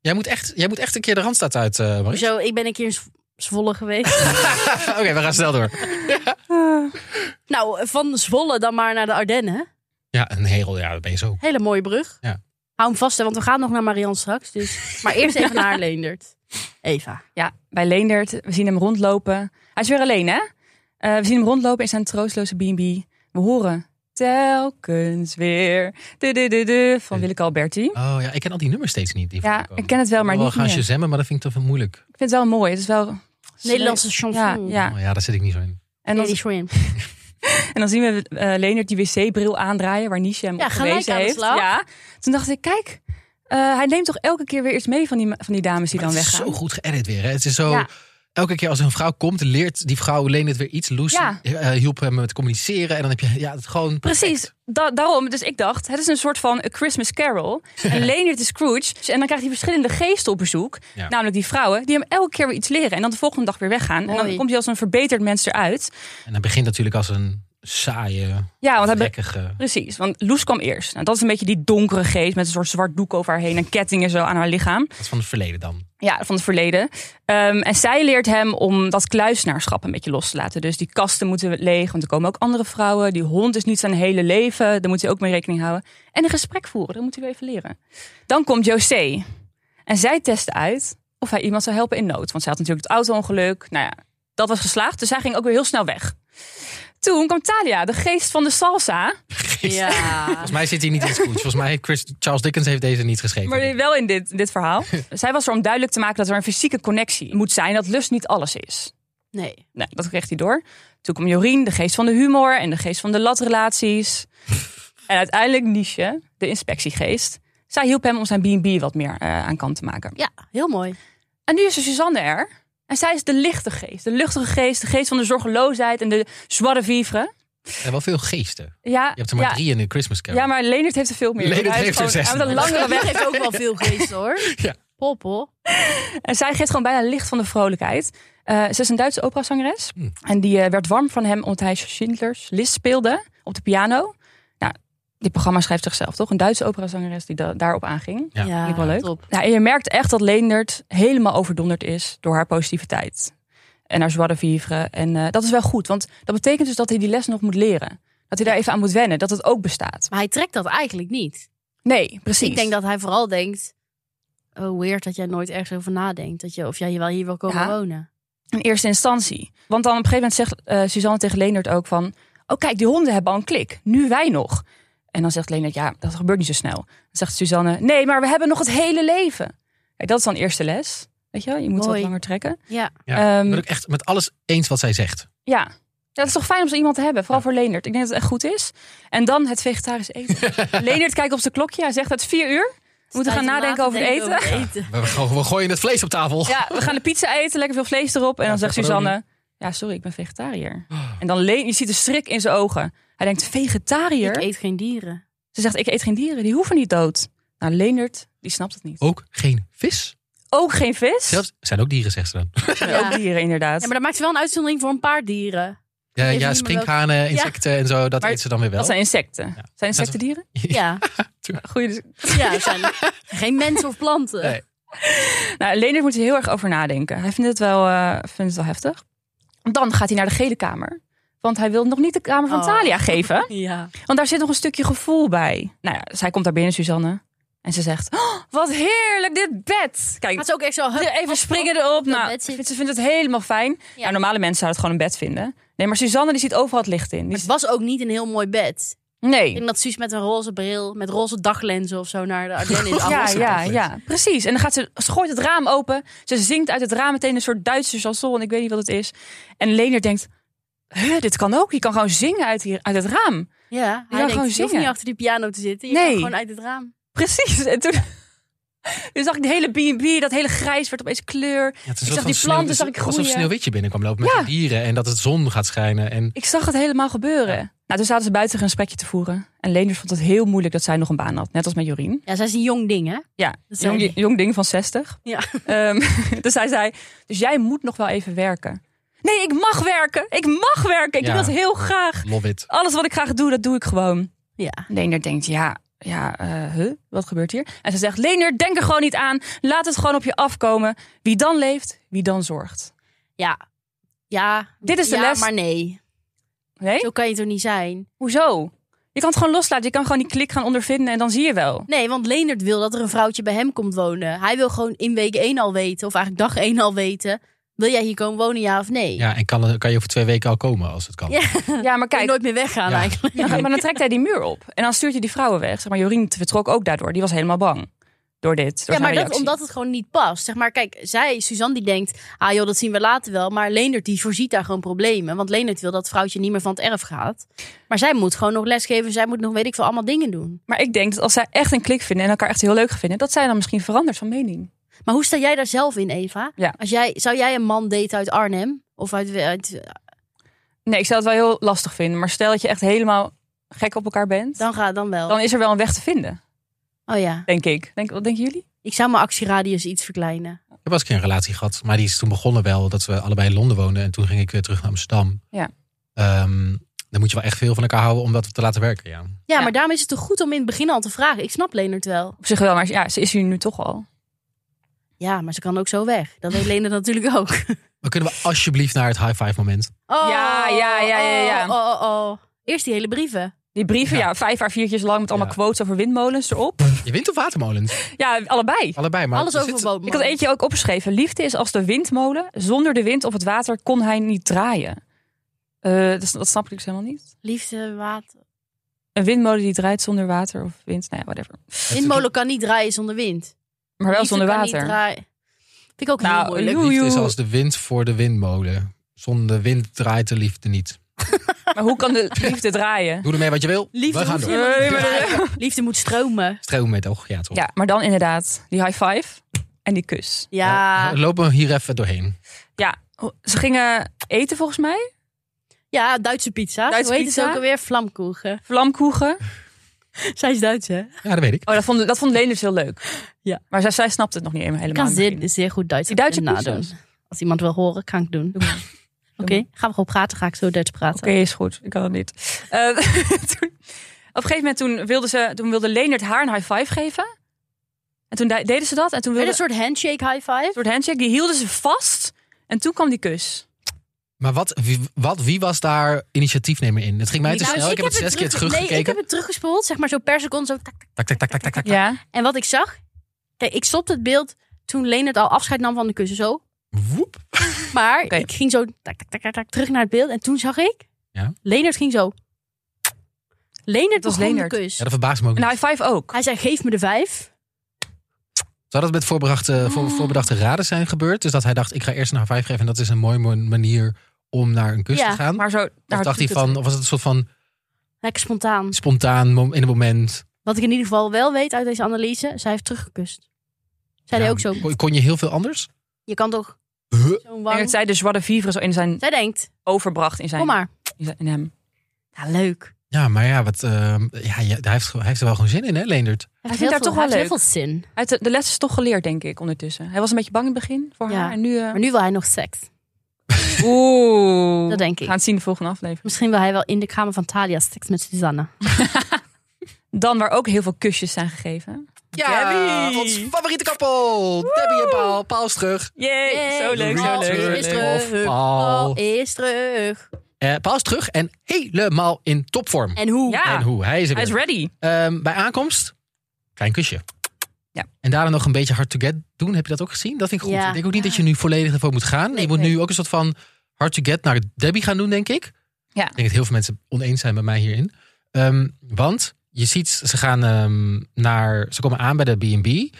A: Jij moet echt, jij moet echt een keer de Randstad uit, eh Marie.
B: Zo, ik ben een keer in Zw- Zwolle geweest.
A: Oké, we gaan snel door.
B: nou, van Zwolle dan maar naar de Ardennen.
A: Ja, een herel, ja, dat ben je zo.
B: Hele mooie brug.
A: Ja.
B: Hou hem vast, hè, want we gaan nog naar Marianne straks. Dus. Maar eerst even naar Leendert. Eva.
C: Ja, bij Leendert. We zien hem rondlopen. Hij is weer alleen, hè? Eh, we zien hem rondlopen in zijn troostloze B&B. We horen telkens weer de, de, de, de, van Willeke Alberti.
A: Oh ja, ik ken al die nummers steeds niet. Die
C: Ja,
A: voorkomen.
C: ik ken het wel, maar
A: wil
C: niet
A: Oh, gaan
C: meer. Ik
A: shazammen, maar dat vind ik te veel moeilijk.
C: vind het wel mooi. Het is wel...
B: Nederlandse
C: Ja,
B: chanson.
C: ja.
A: Oh, ja, daar zit ik niet zo in.
C: En
B: Nee,
C: dan,
B: die is voor hem.
C: en dan zien we eh Leendert die wc-bril aandraaien waar Nisha hem
B: Ja,
C: op
B: gelijk
C: gewezen
B: aan de
C: heeft.
B: slag.
C: Ja, toen dacht ik, kijk, Eh, hij neemt toch elke keer weer iets mee van die, van die dames die
A: Maar
C: dan
A: het is
C: weggaan.
A: zo goed geëdit weer. Hè? Het is zo.
B: Ja.
A: Elke keer als een vrouw komt, leert die vrouw Leen het weer iets. Loes
C: Ja.
A: eh, hielp hem met communiceren. En dan heb je ja, het gewoon.
C: Precies, da- daarom. Dus ik dacht, het is een soort van A Christmas Carol. En Leonard is Scrooge. dus, En dan krijgt hij verschillende geesten op bezoek.
A: Ja.
C: Namelijk die vrouwen, die hem elke keer weer iets leren. En dan de volgende dag weer weggaan. En dan
B: Mooi.
C: komt hij als een verbeterd mens eruit.
A: En hij begint natuurlijk als een saaie,
C: Ja, want hij be-
A: gekkige.
C: Precies, want Loes kwam eerst. Nou, dat is een beetje die donkere geest met een soort zwart doek over haar heen. En kettingen zo aan haar lichaam.
A: Dat is van het verleden dan.
C: Ja, van het verleden. Ehm, en zij leert hem om dat kluisnaarschap een beetje los te laten. Dus die kasten moeten leeg, want er komen ook andere vrouwen. Die hond is niet zijn hele leven, daar moet hij ook mee rekening houden. En een gesprek voeren, dat moet hij weer even leren. Dan komt José. En zij test uit of hij iemand zou helpen in nood. Want zij had natuurlijk het auto-ongeluk. Nou ja, dat was geslaagd, dus zij ging ook weer heel snel weg. Toen kwam Talia, de geest van de salsa.
B: Ja.
A: Volgens mij zit hij niet in Scrooge. Volgens mij heeft Chris, Charles Dickens heeft deze niet geschreven.
C: Maar wel in dit, dit verhaal. Zij was er om duidelijk te maken dat er een fysieke connectie moet zijn. Dat lust niet alles is.
B: Nee.
C: Nou, dat kreeg hij door. Toen kwam Jorien, de geest van de humor en de geest van de latrelaties. en uiteindelijk Niche, de inspectiegeest. Zij hielp hem om zijn B&B wat meer eh, aan kant te maken.
B: Ja, heel mooi.
C: En nu is er Suzanne er. En zij is de lichte geest. De luchtige geest, de geest van de zorgeloosheid en de joie de vivre.
A: Er zijn wel veel geesten.
C: Ja,
A: Je hebt er maar
C: ja,
A: drie in de Christmas Carol.
C: ja, maar Leonard heeft er veel meer.
A: Leonard
C: Hij is
A: heeft er
C: gewoon-
A: zes.
C: hij heeft een langere weg.
B: heeft ook wel veel geest hoor.
A: Ja.
B: Poppel.
C: En zij geeft gewoon bijna licht van de vrolijkheid. Eh, ze is een Duitse operazangeres.
A: Hm.
C: En die eh, werd warm van hem omdat hij Schindlers List speelde op de piano. Nou, dit programma schrijft zichzelf, toch? Een Duitse operazangeres die da- daarop aanging.
A: Ja,
C: vind ik wel leuk.
B: Top.
C: Nou, en je merkt echt dat Leendert helemaal overdonderd is door haar positiviteit. En haar joie de vivre. En eh, dat is wel goed, want dat betekent dus dat hij die les nog moet leren. Dat hij daar even aan moet wennen, dat het ook bestaat.
B: Maar hij trekt dat eigenlijk niet.
C: Nee, precies.
B: Ik denk dat hij vooral denkt... Oh, weird dat jij nooit ergens over nadenkt. Dat je, of jij wel hier wil komen
C: Ja.
B: wonen.
C: in eerste instantie. Want dan op een gegeven moment zegt eh, Suzanne tegen Leendert ook van... Oh kijk, die honden hebben al een klik. Nu wij nog. En dan zegt Leendert, ja, dat gebeurt niet zo snel. Dan zegt Suzanne, nee, maar we hebben nog het hele leven. Kijk, dat is dan eerste les. Weet je wel, je moet wat
B: Mooi.
C: langer trekken.
B: Ja,
A: Ja,
C: Ehm,
A: ik ben ook echt met alles eens wat zij zegt.
C: Ja. Ja, dat is toch fijn om zo iemand te hebben. Vooral voor Leendert. Ik denk dat het echt goed is. En dan het vegetarisch eten. Leendert kijkt op zijn klokje. Hij zegt, het is vier uur. We moeten gaan
B: Tijd om na
C: nadenken
B: te
C: over het
B: denken
C: eten.
B: over het
A: We, we, we gooien het vlees op tafel.
C: Ja, we gaan de pizza eten, lekker veel vlees erop. En
A: Ja,
C: dan zegt
A: pepperoni.
C: Suzanne, ja, sorry, ik ben vegetariër. En dan leen, je ziet de schrik in zijn ogen. Hij denkt, vegetariër?
B: Ik eet geen dieren.
C: Ze zegt, ik eet geen dieren, die hoeven niet dood. Nou, Leendert, die snapt het niet.
A: Ook geen vis.
C: Ook geen vis?
A: Oh. Zelfs zijn ook dieren, zegt ze dan.
C: Nee,
B: Ja.
C: Ook dieren, inderdaad.
B: Ja, maar dat maakt ze wel een uitzondering voor een paar dieren.
A: Ja,
B: Even
A: ja
B: niet meer
A: sprinkhanen, insecten en zo, dat
C: Maar
A: eet ze dan weer wel.
C: Dat zijn insecten. Zijn insecten dieren?
B: Ja,
C: Goeie... dus-
B: ja het zijn geen mensen of planten.
A: Nee.
C: Nou, Leendert moet er heel erg over nadenken. Hij vindt het wel, eh, vindt het wel heftig. Dan gaat hij naar de gele kamer. Want hij wil nog niet de kamer van
B: Oh.
C: Thalia geven.
B: Ja.
C: Want daar zit nog een stukje gevoel bij. Nou ja, zij komt daar binnen, Suzanne. En ze zegt, "Oh, wat heerlijk, dit bed.
B: Gaat
C: Kijk,
B: ze ook echt zo... hup,
C: even springen erop.
B: dat
C: Nou,
B: bed zit.
C: ze vindt het helemaal fijn.
B: Ja.
C: Nou, normale mensen zouden het gewoon een bed vinden. Nee, maar Suzanne die ziet overal het licht in. Die
B: Het was ook niet een heel mooi bed.
C: zegt,
B: Ik
C: nee.
B: denk dat Suus met een roze bril, met roze daglenzen of zo naar de Ardennen is
C: Ja,
B: afgestapt.
C: ja, ja, precies. En dan gaat ze, ze gooit het raam open. Ze zingt uit het raam meteen een soort Duitse chanson. En ik weet niet wat het is. En Lener denkt, "Huh, dit kan ook. Je kan gewoon zingen uit, hier, uit het raam.
B: Ja,
C: kan
B: hij denkt,
C: gewoon
B: je hoeft
C: zingen.
B: niet achter die piano te zitten. Je
C: Nee.
B: kan gewoon uit het raam.
C: Precies. En toen, toen zag ik de hele B&B, dat hele grijs werd opeens kleur.
A: Ja, het is
C: Ik
A: een soort
C: zag
A: van
C: die planten, zag ik
A: alsof
C: groeien.
A: Sneeuwwitje binnenkwam lopen met
C: Ja.
A: de dieren en dat het zon gaat schijnen. En
C: Ik zag het helemaal gebeuren. Nou, toen zaten ze buiten een gesprekje te voeren. En Leenders vond het heel moeilijk dat zij nog een baan had. Net als met Jorien.
B: Ja, zij is een jong ding, hè?
C: Ja,
B: Dat zei
C: jong,
B: hij.
C: jong ding van 60.
B: Dus Ja.
C: Ehm, dus hij zei, dus jij moet nog wel even werken. Nee, ik mag werken. Ik mag werken. Ik
A: Ja.
C: doe dat heel graag.
A: love it.
C: Alles wat ik graag doe, dat doe ik gewoon.
B: Ja.
C: Leendert denkt, ja, ja, eh, huh? wat gebeurt hier? En ze zegt, Leendert, denk er gewoon niet aan. Laat het gewoon op je afkomen. Wie dan leeft, wie dan zorgt.
B: Ja. Ja.
C: Dit is de
B: ja,
C: les.
B: maar nee.
C: Nee?
B: Zo kan je toch niet zijn?
C: Hoezo? Je kan het gewoon loslaten. Je kan gewoon die klik gaan ondervinden en dan zie je wel.
B: Nee, want Leendert wil dat er een vrouwtje bij hem komt wonen. Hij wil gewoon in week 1 al weten, of eigenlijk dag 1 al weten... wil jij hier komen wonen, ja of nee?
A: Ja, en kan, kan je over twee weken al komen als het kan.
B: Ja.
C: Ja, maar
B: Kan je
C: kijk,
B: nooit meer weggaan
A: Ja.
B: eigenlijk.
C: maar dan trekt hij die muur op. En dan stuurt hij die vrouwen weg. Zeg maar, Jorien vertrok ook daardoor. Die was helemaal bang. Door dit. Door
B: Ja, maar
C: haar
B: dat,
C: reactie.
B: omdat het gewoon niet past. Zeg maar, kijk, zij, Suzanne, die denkt... ah joh, dat zien we later wel. Maar Leendert, die voorziet daar gewoon problemen. Want Leendert wil dat het vrouwtje niet meer van het erf gaat. Maar zij moet gewoon nog lesgeven. Zij moet nog, weet ik veel, allemaal dingen doen.
C: Maar ik denk dat als zij echt een klik vinden en elkaar echt heel leuk gaan vinden, dat zij dan misschien verandert van mening.
B: Maar hoe sta jij daar zelf in, Eva?
C: Ja.
B: Als jij, zou jij een man daten uit Arnhem? Of uit... uit
C: Nee, ik zou het wel heel lastig vinden. Maar stel dat je echt helemaal gek op elkaar bent, dan,
B: dan ga dan wel.
C: is er wel een weg te vinden,
B: Oh ja.
C: denk ik. Denk, wat denken jullie?
B: Ik zou mijn actieradius iets verkleinen.
A: Ik heb wel eens een keer een relatie gehad, maar die is toen begonnen wel dat we allebei in Londen woonden. En toen ging ik weer terug naar Amsterdam.
C: Ja.
A: Ehm, dan moet je wel echt veel van elkaar houden om dat te laten werken. Ja.
B: Ja,
C: Ja.
B: maar daarom is het toch goed om in het begin al te vragen. Ik snap Leendert wel.
C: Op zich wel, maar ja, ze is hier nu toch al.
B: Ja, maar ze kan ook zo weg. Dat weet Leendert natuurlijk ook.
A: Maar kunnen we alsjeblieft naar het high five moment?
B: Oh,
C: Ja, ja, ja, ja, ja.
B: Oh, oh, oh, oh. Eerst die hele brieven.
C: Die brieven,
A: Ja.
C: ja, vijf à viertjes lang met allemaal
A: Ja.
C: quotes over windmolens erop.
A: Je wint of watermolens?
C: Ja, allebei.
A: Allebei. Maar
B: Alles
A: er
B: over
A: zit-
B: boven.
C: Ik had eentje ook opgeschreven. Liefde is als de windmolen. Zonder de wind of het water kon hij niet draaien. Eh, dus dat snap ik dus helemaal niet.
B: Liefde, water.
C: Een windmolen die draait zonder water of wind. Nou ja, whatever.
B: Windmolen kan niet draaien zonder wind.
C: Maar wel
B: Liefde
C: zonder
B: kan niet
C: water.
B: draaien. Vind ik ook
C: Nou,
B: heel moeilijk.
C: joe.
A: Liefde is als de wind voor de windmolen. Zonder wind draait de liefde niet.
C: Maar hoe kan de liefde draaien?
A: Doe ermee wat je wil.
B: Liefde,
A: we gaan
B: hoeft
A: door.
B: helemaal niet te
C: Nee, maar-
B: draaien. Liefde moet stromen.
A: Stroom met oog. Ja, toch?
C: Ja, maar dan inderdaad die high five en die kus. eh,
B: Ja.
A: Nou, lopen we hier even doorheen.
C: Ja, ze gingen eten volgens mij.
B: ja, Duitse pizza.
C: Duitse
B: Hoe heet
C: pizza?
B: het ook alweer? Vlamkoegen.
C: Vlamkoegen.
B: Zij is Duits, hè?
A: Ja, dat weet ik.
C: Oh, dat vond, dat vond Leenders heel leuk.
B: Ja.
C: Maar zij, zij snapte het nog niet helemaal.
B: Ik kan
C: in het
B: zeer, zeer goed Duits
C: Die Duitse
B: nadoen.
C: pizza's.
B: Als iemand wil horen, kan ik doen.
C: begin. Doe maar.
B: Oké, gaan we gewoon praten. Ga ik zo Duits praten.
C: Oké, is goed. Ik kan het niet. Eh, toen, op een gegeven moment toen wilde, ze, toen wilde Leendert haar een high five geven. En toen de- deden ze dat. En toen
B: Met
C: wilde
B: een
C: ze
B: soort handshake high five.
C: een soort handshake. Die hielden ze vast. En toen kwam die kus.
A: Maar wat, wie, wat, wie was daar initiatiefnemer in? Het ging mij te
B: Nou,
A: snel. ik, heb het zes keer
B: terug- Nee, ik
A: teruggekeken.
B: heb het teruggespoeld. Zeg maar zo per seconde. Zo tak,
A: Tak, tak, tak, tak, tak, tak.
C: Ja.
B: En wat ik zag, kijk, ik stopte het beeld toen Leonard al afscheid nam van de kussen zo.
A: Woep.
B: Maar
C: Oké.
B: ik ging zo tak, tak, tak, tak, tak, terug naar het beeld en toen zag ik,
A: Ja.
B: Leonard ging zo. Leonard
C: Het was
B: begon
C: Leonard.
B: de kus.
A: Ja, dat verbaast me ook
C: Een
A: niet.
B: Nou,
C: high five ook.
B: Hij zei, geef me de vijf.
A: Zou dat met voorbedachte,
B: Oh.
A: voor, voorbedachte raden zijn gebeurd? Dus dat hij dacht, ik ga eerst een high five geven... en dat is een mooie mo- manier om naar een kus
B: Ja,
A: te gaan?
C: Maar zo.
A: of dacht hij van, of was het een soort van
B: Lekker spontaan.
A: spontaan mom- in het moment?
B: Wat ik in ieder geval wel weet uit deze analyse, zij heeft teruggekust. Zei
A: Ja,
B: hij ook zo,
A: kon- Kon je heel veel anders?
B: je kan toch
A: Huh?
B: zo'n
C: Ik denk
B: wang...
C: dat zij de zwarte vivre zo in zijn
B: Zij denkt,
C: overbracht. In zijn.
B: kom maar.
C: In, zijn- in hem.
B: Ja, leuk.
A: Ja, maar ja, wat, ehm, ja, ja, hij, heeft, ge- hij heeft er wel gewoon zin in, hè, Leendert?
B: Hij
C: vindt
B: heeft heel
C: haar
B: veel-
C: toch wel
B: hij heeft heel
C: leuk.
B: veel zin.
C: Hij heeft de, de les is toch geleerd, denk ik, ondertussen. Hij was een beetje bang in het begin voor
B: Ja.
C: haar. En nu. eh,
B: Maar nu wil hij nog seks.
C: Oeh.
B: Dat denk ik.
C: We gaan het zien in de volgende aflevering.
B: Misschien wil hij wel in de kamer van Thalia seks met Suzanne.
C: Dan waar ook heel veel kusjes zijn gegeven.
A: Ja,
C: Debbie!
A: ons favoriete koppel. Debbie en Paul. Paul is terug.
C: Yay, zo leuk, zo
A: Paul
B: Paul
C: leuk. zo
A: is
B: is
C: leuk.
A: terug.
B: terug.
A: Paul
B: Paul is terug.
A: Eh, Paul is terug en helemaal in topvorm.
B: En hoe?
C: Ja,
A: En hoe? Hij is er
C: hij is
A: weer.
C: ready.
A: Ehm, bij aankomst, klein kusje.
C: Ja.
A: En daarna nog een beetje hard to get doen. Heb je dat ook gezien? Dat vind ik goed.
B: Ja.
A: Ik denk ook niet dat je nu volledig ervoor moet gaan.
B: Nee,
A: je moet
B: nee.
A: nu ook een soort van hard to get naar Debbie gaan doen, denk ik.
C: Ja.
A: Ik denk dat heel veel mensen oneens zijn met mij hierin. Ehm, want je ziet, ze gaan ehm, naar, ze komen aan bij de B&B.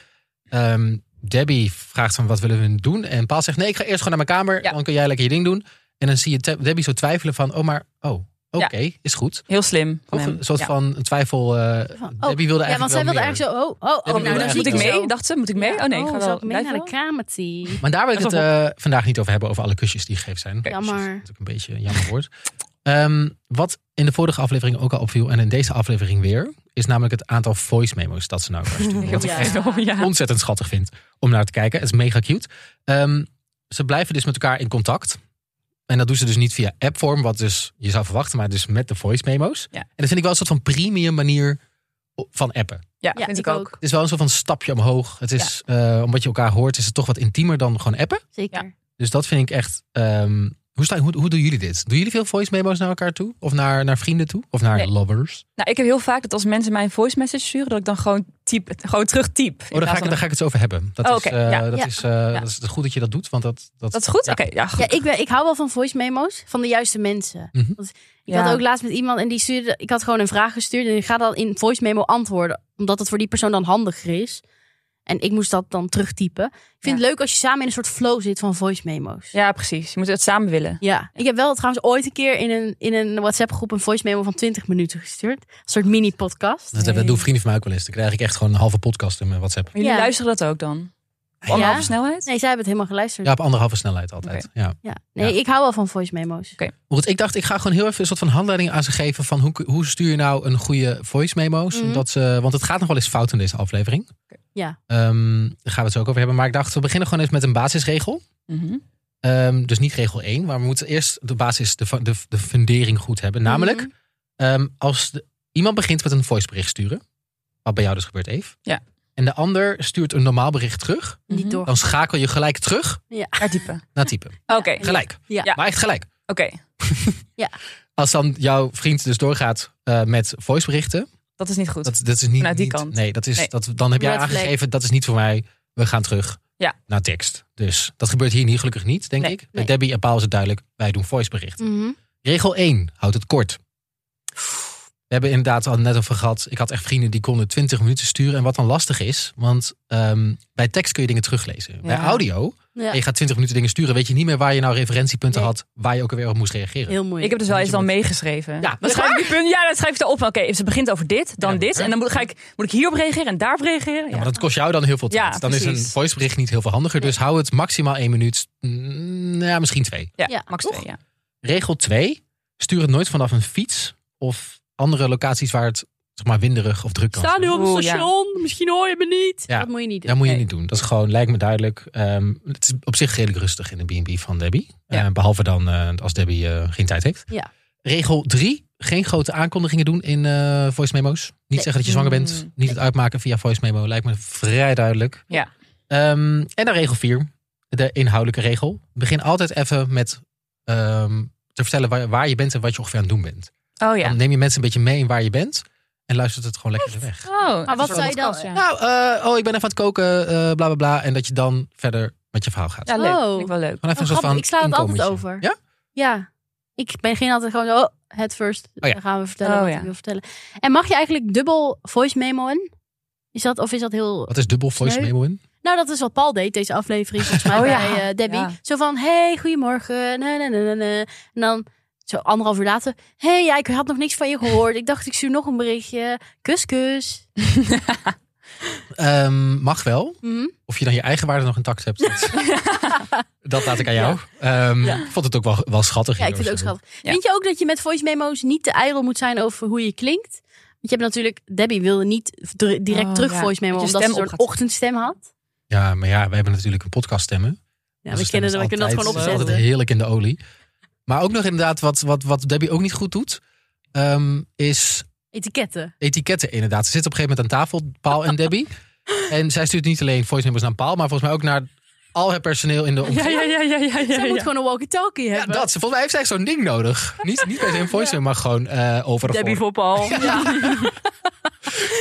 A: Ehm, Debbie vraagt van, wat willen we nu doen? En Paul zegt, nee, ik ga eerst gewoon naar mijn kamer.
C: Ja.
A: Dan kun jij lekker je ding doen. En dan zie je Te- Debbie zo twijfelen van, oh, maar, oh, oké, is goed.
C: Heel slim van
A: Of
C: hem.
A: een soort
C: Ja.
A: van een twijfel. eh,
B: Van, oh,
A: Debbie wilde eigenlijk
B: Ja, want zij
A: wel
B: wilde
A: meer.
B: eigenlijk zo... Oh, oh,
A: wilde
B: oh. nou, dan
A: eigenlijk
B: zie
C: moet ik
A: wel.
B: zo.
C: mee? Dacht ze, moet ik mee? Oh nee, ik
B: oh,
C: ga
B: zal
C: wel.
B: ik mee
C: blijf
B: naar de
C: wel.
B: kamertie?
A: Maar daar wil ik
C: Dat
A: het
C: is wel
A: eh, vandaag niet over hebben, over alle kusjes die gegeven zijn.
C: Oké,
A: Kusjes,
B: jammer.
A: Dat is ook een beetje een jammer woord. Ehm, wat in de vorige aflevering ook al opviel en in deze aflevering weer, is namelijk het aantal voice memos dat ze naar elkaar sturen. Wat ik
B: Ja.
A: echt
C: enorm, Oh, ja.
A: ontzettend schattig vind om naar te kijken. Het is mega cute. Ehm, ze blijven dus met elkaar in contact. En dat doen ze dus niet via appvorm, wat dus je zou verwachten, maar dus met de voice memos.
C: Ja.
A: En dat vind ik wel een soort van premium manier van appen.
C: Ja,
B: Ja,
C: vind ik
B: ik
C: ook.
B: ook.
A: Het is wel een soort van stapje omhoog. Het is, eh, omdat je elkaar hoort, is het toch wat intiemer dan gewoon appen.
B: Zeker.
A: Dus dat vind ik echt. ehm, hoe, sta, hoe, hoe doen jullie dit? Doen jullie veel voice memos naar elkaar toe? Of naar, naar vrienden toe? Of naar
C: Nee.
A: lovers? Oh,
C: Nou, ik heb heel vaak dat als mensen mij een voice message sturen, dat ik dan gewoon, typ, gewoon terug typ.
A: Oh, daar ga, ik, daar ga ik het zo over hebben. Dat,
C: Oh,
A: is,
C: oké,
A: eh,
C: ja.
A: dat,
B: Ja.
A: Is, eh, dat is goed dat je dat doet. Want dat, dat,
C: Dat is goed?
A: Ja.
C: Oké, ja, goed.
B: Ja, ik, ben, ik hou wel van voice memo's van de juiste mensen.
A: Mhm.
B: Want ik
C: Ja.
B: had ook laatst met iemand en die stuurde, ik had gewoon een vraag gestuurd en ik ga dan in voice memo antwoorden, omdat het voor die persoon dan handiger is. En ik moest dat dan terugtypen. Ik vind het
C: Ja.
B: leuk als je samen in een soort flow zit van voice memo's.
C: Ja, precies. Je moet het samen willen.
B: Ja, ik heb wel trouwens ooit een keer in een, in een WhatsApp-groep een voice memo van 20 minuten gestuurd. Een soort mini-podcast.
A: Dat, dat doen vrienden van mij ook wel eens. Dan krijg ik echt gewoon een halve podcast in mijn WhatsApp.
C: Maar jullie
B: Ja.
C: luisteren dat ook dan? Op
A: Ja.
C: anderhalve snelheid?
B: Nee, zij hebben het helemaal geluisterd.
A: Ja, op anderhalve snelheid altijd. Ja.
B: Ja. Nee, ik hou wel van voice memo's.
A: Want ik dacht, ik ga gewoon heel even een soort van handleiding aan ze geven. van hoe, hoe stuur je nou een goede voice memo's?
C: Mhm.
A: Omdat ze, want het gaat nog wel eens fout in deze aflevering.
B: Ja.
A: Ehm, daar gaan we het zo ook over hebben. Maar ik dacht, we beginnen gewoon eens met een basisregel.
C: Mhm.
A: Ehm, dus niet regel 1, maar we moeten eerst de basis, de, va- de, de fundering goed hebben. Namelijk,
C: Mhm.
A: ehm, als de- iemand begint met een voicebericht sturen, wat bij jou dus gebeurt, Eve.
C: Ja.
A: En de ander stuurt een normaal bericht terug,
B: Niet
C: Mhm.
B: door.
A: dan schakel je gelijk terug
C: Maar typen.
A: naar typen.
C: Oké,
B: Ja.
C: oké.
A: Gelijk.
B: Ja.
A: Maar echt gelijk.
B: Ja.
A: Als dan jouw vriend dus doorgaat eh, met voiceberichten,
C: Dat is niet goed.
A: dat, dat is niet.
C: Vanuit die
A: niet-
C: kant.
A: Nee, dat is,
C: Nee.
A: Dat, dan heb jij
B: Red flag.
A: aangegeven, dat is niet voor mij. We gaan terug
C: Ja.
A: naar tekst. Dus dat gebeurt hier niet, gelukkig niet, denk
C: Nee.
A: ik. Bij
B: Nee.
A: Debbie en Paul is het duidelijk, wij doen voiceberichten.
B: Mhm.
A: Regel 1, houd het kort. We hebben inderdaad al net over gehad. Ik had echt vrienden die konden 20 minuten sturen. En wat dan lastig is, want ehm, bij tekst kun je dingen teruglezen. Bij audio,
B: Ja.
A: je gaat 20 minuten dingen sturen. Weet je niet meer waar je nou referentiepunten
B: Nee.
A: had. Waar je ook alweer op moest reageren.
B: Heel moeilijk.
C: Ik heb dus wel
A: Dan
C: eens dan
A: moet
C: meegeschreven.
A: Ja,
C: dan
A: echt
C: schrijf ik die punten. Ja, dan schrijf ik erop. van, Oké, ze begint over dit, dan
A: Ja,
C: dit.
A: oké.
C: En dan moet, ga ik, moet ik hierop reageren en daarop reageren.
A: Ja,
C: Ja.
A: maar dat kost jou dan heel veel tijd.
C: Ja,
A: dan is een
C: precies.
A: voicebericht niet heel veel handiger. Dus hou het maximaal 1 minuut. Mm, nou ja, misschien 2.
C: Ja,
B: Ja,
C: max
B: toch?
C: twee, ja.
A: Regel 2, stuur het nooit vanaf een fiets. Of andere locaties waar het zeg maar, winderig of druk kan zijn.
B: Sta nu op
C: Oeh,
B: het
C: ja.
B: station. Misschien hoor je me niet.
A: Ja.
B: Dat moet je niet doen.
A: Dat moet je
C: Nee.
A: niet doen. Dat is gewoon, lijkt me duidelijk. Ehm, het is op zich redelijk rustig in de B&B van Debbie.
C: Ja.
A: Eh, behalve dan eh, als Debbie eh, geen tijd heeft.
B: Ja.
A: Regel 3. Geen grote aankondigingen doen in eh, voice memo's. Niet
B: Nee.
A: zeggen dat je zwanger bent.
C: Mm.
A: Niet het uitmaken via voice memo. Lijkt me vrij duidelijk.
C: Ja.
A: Ehm, en dan regel 4. De inhoudelijke regel. Begin altijd even met ehm, te vertellen waar, waar je bent en wat je ongeveer aan het doen bent.
C: Oh ja.
A: Dan neem je mensen een beetje mee in waar je bent. En luistert het gewoon lekker weg.
C: Oh,
B: Maar wat zou je dan
C: Ja,
A: Nou, eh, oh, ik ben even aan het koken, eh, bla bla bla. En dat je dan verder met je verhaal gaat.
C: ja leuk.
B: Oh.
C: Vind ik wel leuk.
A: Gewoon even een soort
B: grappig.
A: van
B: Ik sla het altijd
A: inkomertje.
B: over.
A: Ja?
B: Ja. Ik ben geen altijd gewoon zo, oh, head first.
A: Oh ja.
B: Dan gaan we vertellen
C: Oh
B: wat
C: ja.
B: ik wil vertellen. En mag je eigenlijk dubbel voice memoen? Is dat, of is dat heel...
A: Wat is dubbel voice
B: Sneu.
A: memo in?
B: Nou, dat is wat Paul deed deze aflevering volgens mij
C: Oh ja.
B: bij eh, Debbie.
C: Ja.
B: Zo van, hey, goedemorgen. Na, na, na, na, na. En dan zo anderhalf uur later. hey, ja, ik had nog niks van je gehoord. Ik dacht, ik stuur nog een berichtje. Kus, kus.
A: Ehm, mag wel.
B: Mhm.
A: Of je dan je eigen waarde nog intact hebt. Dat, dat laat ik aan jou. Ehm,
B: Ja.
A: Ik vond het ook wel, wel schattig.
B: Ja, ik vind het ook
A: hier,
B: schattig.
C: Ja.
B: Vind je ook dat je met voice memo's niet te ijdel moet zijn over hoe je klinkt? Want je hebt natuurlijk, Debbie wilde niet dr- direct
C: Oh,
B: terug
C: ja.
B: voice memo,
C: Dat je
B: omdat ze
C: stem
B: een soort
C: op gaat.
B: ochtendstem had.
A: Ja, maar ja, we hebben natuurlijk een podcast stemmen.
B: Ja, we, kennen dat, we kunnen dat
A: Het
B: gewoon
A: is
B: opzetten.
A: altijd heerlijk in de olie. Maar ook nog inderdaad wat, wat, wat Debbie ook niet goed doet. ehm, is
B: Etiketten.
A: etiketten inderdaad. Ze zitten op een gegeven moment aan tafel, Paul en Debbie. En zij stuurt niet alleen voice memos naar Paul, maar volgens mij ook naar al het personeel in de omgeving.
C: Ja, ja, ja, ja, ja.
B: Zij
C: ja,
B: moet
C: ja.
B: gewoon een walkie-talkie
A: Ja,
B: hebben.
A: dat. Volgens mij heeft zij echt zo'n ding nodig. Niet, niet per se een voice maar gewoon eh over de
C: Debbie
A: voor.
C: voor Paul.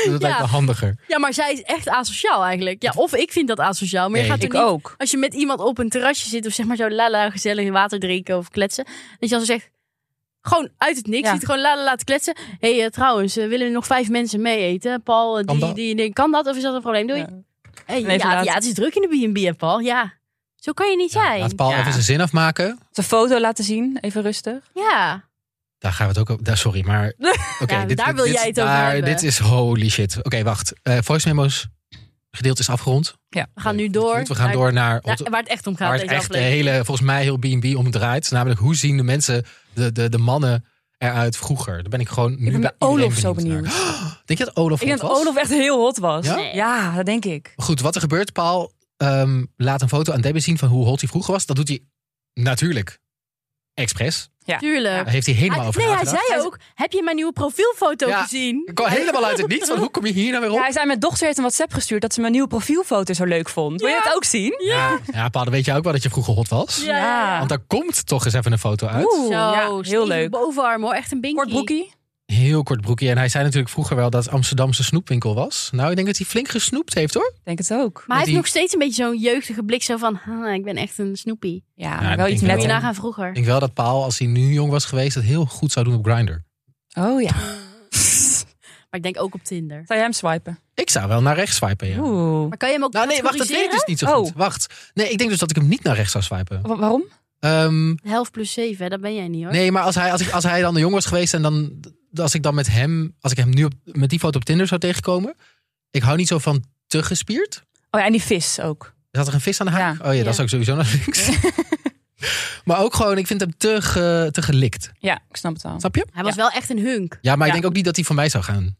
A: Dat lijkt me handiger.
B: Ja, maar zij is echt asociaal eigenlijk. Ja, of ik vind dat asociaal, maar
A: Nee.
B: je gaat er
C: Ik
B: niet...
C: ook.
B: Als je met iemand op een terrasje zit of zeg maar zo lala gezellig water drinken of kletsen. Dat je als ze zegt, gewoon uit het niks,
C: Ja.
B: ziet gewoon lala laten kletsen. Hé, hey, eh, trouwens, eh, willen er nog vijf mensen mee eten? Paul, eh,
A: Kan
B: die,
A: dat?
B: die, die- kan dat? Of is dat een probleem? Doei.
C: Ja.
B: Hey,
C: Nee,
B: ja,
C: inderdaad.
B: ja, het is druk in de B&B, hè, Paul. Ja, zo kan je niet
A: Laat
B: zijn.
A: Paul
C: Ja.
A: even zijn zin afmaken.
C: Zijn foto laten zien, even rustig.
B: Ja,
A: Daar gaan we het ook over. daar- Sorry, maar. oké
B: Ja, daar wil jij het over
A: daar-
B: hebben.
A: Dit is holy shit. Oké, wacht. Eh voice memos gedeelte is afgerond.
B: we gaan nu door.
A: We gaan door naar.
B: Naar- naar- waar het echt om gaat
A: Waar het
B: deze
A: echt eh, de
B: aflevering.
A: hele, volgens mij, heel B&B om draait. Dus Namelijk, hoe zien de mensen, de, de, de mannen eruit vroeger? Daar ben ik gewoon nu
C: Ik ben bij
A: iedereen
C: Olof zo
A: naar.
C: benieuwd.
A: Denk je dat Olof
C: Ik
A: hot
C: denk dat
A: was?
C: Olof echt heel hot was.
A: Ja?
B: Nee.
C: Ja, dat denk ik.
A: Goed, wat er gebeurt, Paul ehm, laat een foto aan Debbie zien van hoe hot hij vroeger was. Dat doet hij natuurlijk expres.
B: Tuurlijk.
A: Daar heeft hij helemaal
B: Hij-
A: over
B: nee, hij
A: nagedacht.
B: zei ook, heb je mijn nieuwe profielfoto
A: Ja.
B: gezien?
A: Ik kwam helemaal uit het niets, want hoe kom je hier nou weer
C: Ja,
A: op?
C: hij zei, mijn dochter heeft een WhatsApp gestuurd dat ze mijn nieuwe profielfoto zo leuk vond. Wil je
B: Ja.
C: dat ook zien?
A: Ja, ja Paul, dan weet jij ook wel dat je vroeger hot was.
B: Ja, ja, ja.
C: Ja.
A: Want daar komt toch eens even een foto uit.
C: Oeh,
B: Zo,
C: ja,
B: stevige
C: heel leuk.
B: bovenarm hoor, echt een binkie.
C: Kort broekie.
A: Heel kort broekje. En hij zei natuurlijk vroeger wel dat Amsterdamse snoepwinkel was. Nou, ik denk dat hij flink gesnoept heeft, hoor.
C: Ik Denk het ook.
B: Maar hij
A: die-
B: heeft nog steeds een beetje zo'n jeugdige blik. Zo van, "Ha, ik ben echt een snoepie.
C: Ja,
A: ik
C: maar wel
A: denk wel.
B: Moet
C: iets
B: je
A: Ja.
C: netter.
B: nagaan
A: Ik
B: vroeger.
A: denk wel dat Paul, als hij nu jong was geweest, dat heel goed zou doen op Grindr.
C: Oh ja.
B: Maar ik denk ook op Tinder.
C: Oh, Zou je hem swipen?
A: Ik zou wel naar rechts swipen, ja.
C: Oeh.
B: Maar kan je hem ook
A: Nou nee, wacht, dat weet ik
B: categoriseren?
A: dus niet zo goed.
C: Oh.
A: Wacht. Nee, ik denk dus dat ik hem niet naar rechts zou swipen.
C: Wa- waarom?
A: Ehm,
B: De helft plus zeven, hè, dat ben jij niet hoor.
A: nee, maar als hij, als, ik, als hij dan de jongen was geweest en dan... Als ik dan met hem, als ik hem nu op, met die foto op Tinder zou tegenkomen... Ik hou niet zo van te gespierd.
C: Oh ja, en die vis ook.
A: Zat er een vis aan de haak?
C: Ja.
A: Oh ja,
B: Ja.
A: dat is ook sowieso naar links. maar ook gewoon, ik vind hem te, ge- te gelikt.
C: Ja, ik snap het wel.
A: Snap je?
B: Hij was wel echt een hunk.
A: Ja, maar
C: Ja.
A: ik denk ook niet dat hij van mij zou gaan.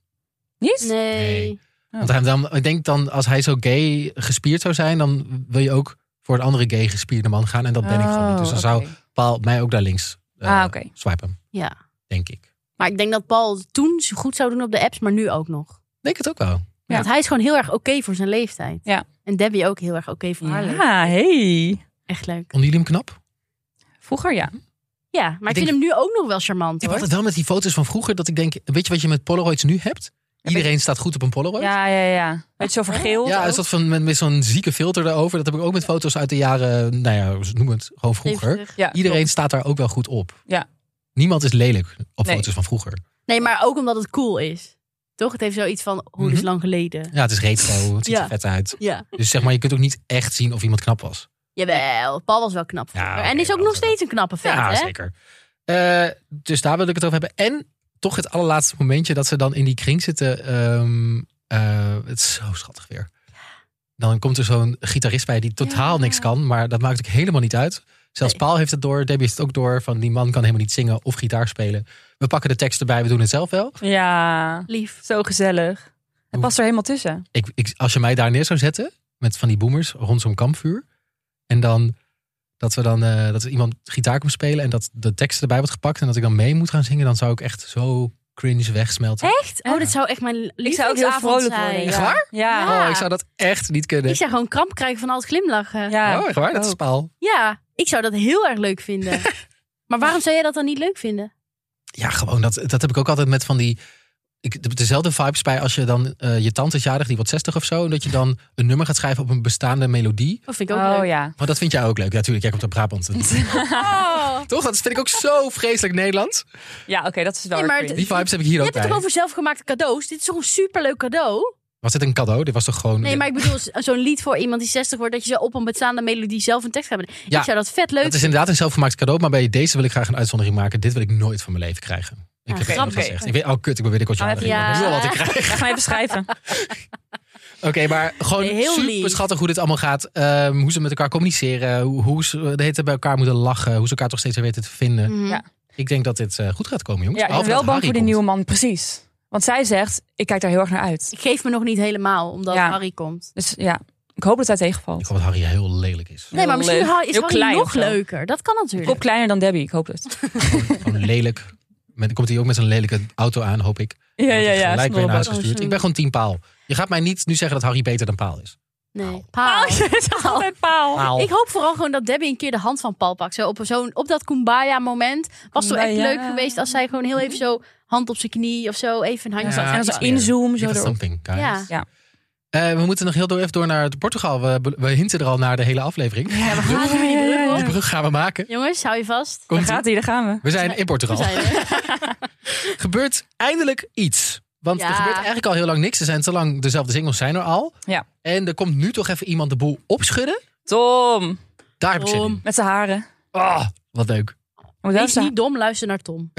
C: Niet?
B: Nee.
A: Want hij dan, ik denk dan, als hij zo gay gespierd zou zijn, dan wil je ook voor een andere gay gespierde man gaan. En dat ben ik gewoon niet. Dus dan
C: Oh,
A: zou
C: oké.
A: Paul mij ook daar links eh,
C: Ah, oké.
A: swipen,
B: Ja.
A: denk ik.
B: Maar ik denk dat Paul toen zo goed zou doen op de apps, maar nu ook nog.
A: Denk het ook wel.
C: Ja.
B: Want hij is gewoon heel erg oké voor zijn leeftijd.
C: Ja.
B: En Debbie ook heel erg oké voor haar leeftijd.
C: Ja, hey.
B: Echt leuk.
A: Vonden jullie hem knap?
C: Vroeger ja.
B: Ja, maar ik,
A: denk-
B: vind hem nu ook nog wel charmant
A: Ik
B: hoor.
A: had het wel met die foto's van vroeger, dat ik denk, weet je wat je met Polaroids nu hebt?
C: weet-
A: Iedereen staat goed op een Polaroid.
C: Ja, ja, ja. Beetje zo vergeeld.
A: Ja,
C: ook.
A: is dat van, met, met zo'n zieke filter erover. Dat heb ik ook met foto's uit de jaren, nou ja, noem het gewoon vroeger.
B: Even terug.
C: Ja,
A: Iedereen staat daar ook wel goed op.
C: Ja.
A: Niemand is lelijk op
C: Nee.
A: foto's van vroeger.
B: Nee, maar ook omdat het cool is. Toch? Het heeft zoiets van, hoe is
A: Mhm.
B: lang geleden.
A: Ja, het is retro, het ziet
B: Ja.
A: er vet uit.
B: Ja.
A: Dus zeg maar, je kunt ook niet echt zien of iemand knap was.
B: Jawel, Paul was wel knap.
A: Ja,
B: vroeger.
A: oké,
B: en is ook
A: dat-
B: nog steeds een knappe vent,
A: ja,
B: hè?
A: zeker. Eh, dus daar wil ik het over hebben. En toch het allerlaatste momentje dat ze dan in die kring zitten. ehm, eh, het is zo schattig weer. Dan komt er zo'n gitarist bij die totaal
C: Ja.
A: niks kan. Maar dat maakt ook helemaal niet uit. Zelfs
B: Nee.
A: Paul heeft het door. Debbie heeft het ook door. Van die man kan helemaal niet zingen of gitaar spelen. We pakken de tekst erbij. We doen het zelf wel.
C: Ja,
B: Lief.
C: zo gezellig. Het past er helemaal tussen.
A: Ik, ik, als je mij daar neer zou zetten. Met van die boomers rond zo'n kampvuur. En dan dat we dan eh, dat er iemand gitaar komt spelen. En dat de tekst erbij wordt gepakt. En dat ik dan mee moet gaan zingen. Dan zou ik echt zo cringe wegsmelten.
B: Echt? Oh,
C: Ja.
B: dit zou echt mijn liefde
C: Ik zou ook heel vrolijk worden.
A: Echt
C: ja.
A: waar?
C: Ja.
B: Ja.
A: Oh, ik zou dat echt niet kunnen.
B: Ik zou gewoon kramp krijgen van al het glimlachen. Ja,
C: Ja,
A: oh, echt waar? Dat is
C: ook.
A: Paul.
B: ik zou dat heel erg leuk vinden. maar waarom zou jij dat dan niet leuk vinden?
A: Ja, gewoon. Dat, dat heb ik ook altijd met van die... Ik, de- dezelfde vibes bij als je dan eh, je tante is jarig, die wordt 60 of zo. En dat je dan een nummer gaat schrijven op een bestaande melodie.
B: Of vind ik ook
C: Oh
B: leuk.
C: ja.
A: Maar dat vind jij ook leuk. Ja, natuurlijk. Jij komt uit Brabant.
B: Oh.
A: Toch? Dat vind ik ook zo vreselijk Nederlands.
C: Ja, oké, dat is wel
B: Nee,
C: weer
B: maar
C: cringe.
A: Die vibes heb ik hier
B: Je
A: ook
B: hebt het toch
A: bij.
B: over zelfgemaakte cadeaus? Dit is toch een superleuk cadeau?
A: Was dit een cadeau? Dit was toch gewoon...
B: Nee, maar ik bedoel, zo'n lied voor iemand die 60 wordt... dat je zo op een bestaande melodie zelf een tekst gaat bedenken.
A: Ja.
B: Ik zou dat vet leuk
A: Dat is inderdaad een zelfgemaakt cadeau. Maar bij deze wil ik graag een uitzondering maken. Dit wil ik nooit van mijn leven krijgen. Ik
B: Ja,
A: heb het
C: oké.
A: nog gezegd. Ik weet, oh kut, ik ben binnenkort
C: Gaan we
A: jarig.
C: even-
A: Ik weet wel wat ik
B: Ja.
A: krijg.
C: Ga maar even schrijven.
A: Oké, maar gewoon
B: Nee, heel
A: super
B: lief.
A: schattig hoe dit allemaal gaat. Ehm, hoe ze met elkaar communiceren. Hoe, hoe ze de hele tijd bij elkaar moeten lachen. Hoe ze elkaar toch steeds weer weten te vinden.
B: Mhm.
C: Ja.
A: Ik denk dat dit eh, goed gaat komen, jongens.
C: Ja, ik ben
A: Behalve
C: wel
A: dat
C: bang
A: Harry
C: voor die
A: komt.
C: nieuwe man, precies. Want zij zegt, ik kijk daar heel erg naar uit.
B: Ik geef me nog niet helemaal, omdat
C: Ja.
B: Harry komt.
C: Dus ja, ik hoop dat hij
A: Ik
C: tegenvalt.
A: hoop dat Harry heel lelijk is.
B: Nee, maar misschien
C: leuk.
B: ha- is
C: Heel
B: Harry
C: klein of
B: nog
C: zo.
B: leuker. Dat kan natuurlijk.
C: Kop kleiner dan Debbie, ik hoop het.
A: Gewoon lelijk. Met, dan komt hij ook met zijn lelijke auto aan, hoop ik.
C: Ja,
A: Dan wordt
C: ja,
A: hij
C: ja.
A: Gelijk weer naar huis
B: Oh,
A: gestuurd.
B: zo.
A: Ik ben gewoon team paal. Je gaat mij niet nu zeggen dat Harry beter dan paal is.
B: Nee. Paal.
C: Altijd paal.
A: Paal.
B: Nou, Ik hoop vooral gewoon dat Debbie een keer de hand van Paul pakt. Zo op, zo'n op dat kumbaya-moment was het wel echt
C: Kumbaya.
B: leuk geweest als zij gewoon heel even zo hand op zijn knie of zo even een handje
A: Ja,
B: zou
C: En dan
B: geven.
C: zo inzoom, zo
A: Give us
C: erop.
A: something, guys.
B: Ja.
C: Ja.
A: Eh, we moeten nog heel door even door naar Portugal. We, we hinten er al naar de hele aflevering.
B: Ja, we gaan er weer die brug
A: Die
B: op.
A: brug gaan we maken.
B: Jongens, hou je vast.
C: Daar
A: Komt
C: gaat hij, daar gaan we.
A: We zijn in
B: We
A: Portugal.
B: zijn er.
A: gebeurt eindelijk iets. Want er
B: Ja.
A: gebeurt eigenlijk al heel lang niks. Er zijn te lang dezelfde singles zijn er al.
C: Ja.
A: En er komt nu toch even iemand de boel opschudden.
C: Tom,
A: Daar heb ik zin
B: Tom.
A: in.
C: met zijn haren.
A: Oh, wat leuk.
C: Moet wel
B: Wees
C: zijn-
B: niet dom, luister naar Tom.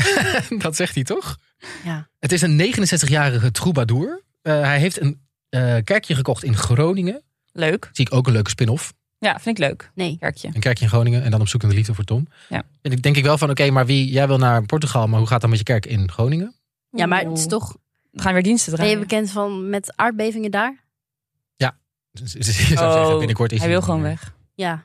A: Dat zegt hij toch?
B: Ja.
A: Het is een 69-jarige troubadour. Eh, hij heeft een eh, kerkje gekocht in Groningen.
C: Leuk.
A: Zie ik ook een leuke spin-off.
C: Ja, vind ik leuk.
B: Nee.
C: Kerkje.
A: Een kerkje in Groningen en dan op zoek naar de liefde voor Tom.
C: Ja.
A: En ik denk ik wel van, oké, maar wie, jij wil naar Portugal, maar hoe gaat dan met je kerk in Groningen?
B: Ja, maar het is
C: Oh.
B: toch...
C: We gaan weer diensten
B: Ben je
C: draaien.
B: bekend van met aardbevingen daar?
A: Dus- dus- ik zou zeggen, binnenkort is
C: Oh, hij
A: hij
C: wil
A: er
C: gewoon
A: weer.
C: weg.
B: Ja.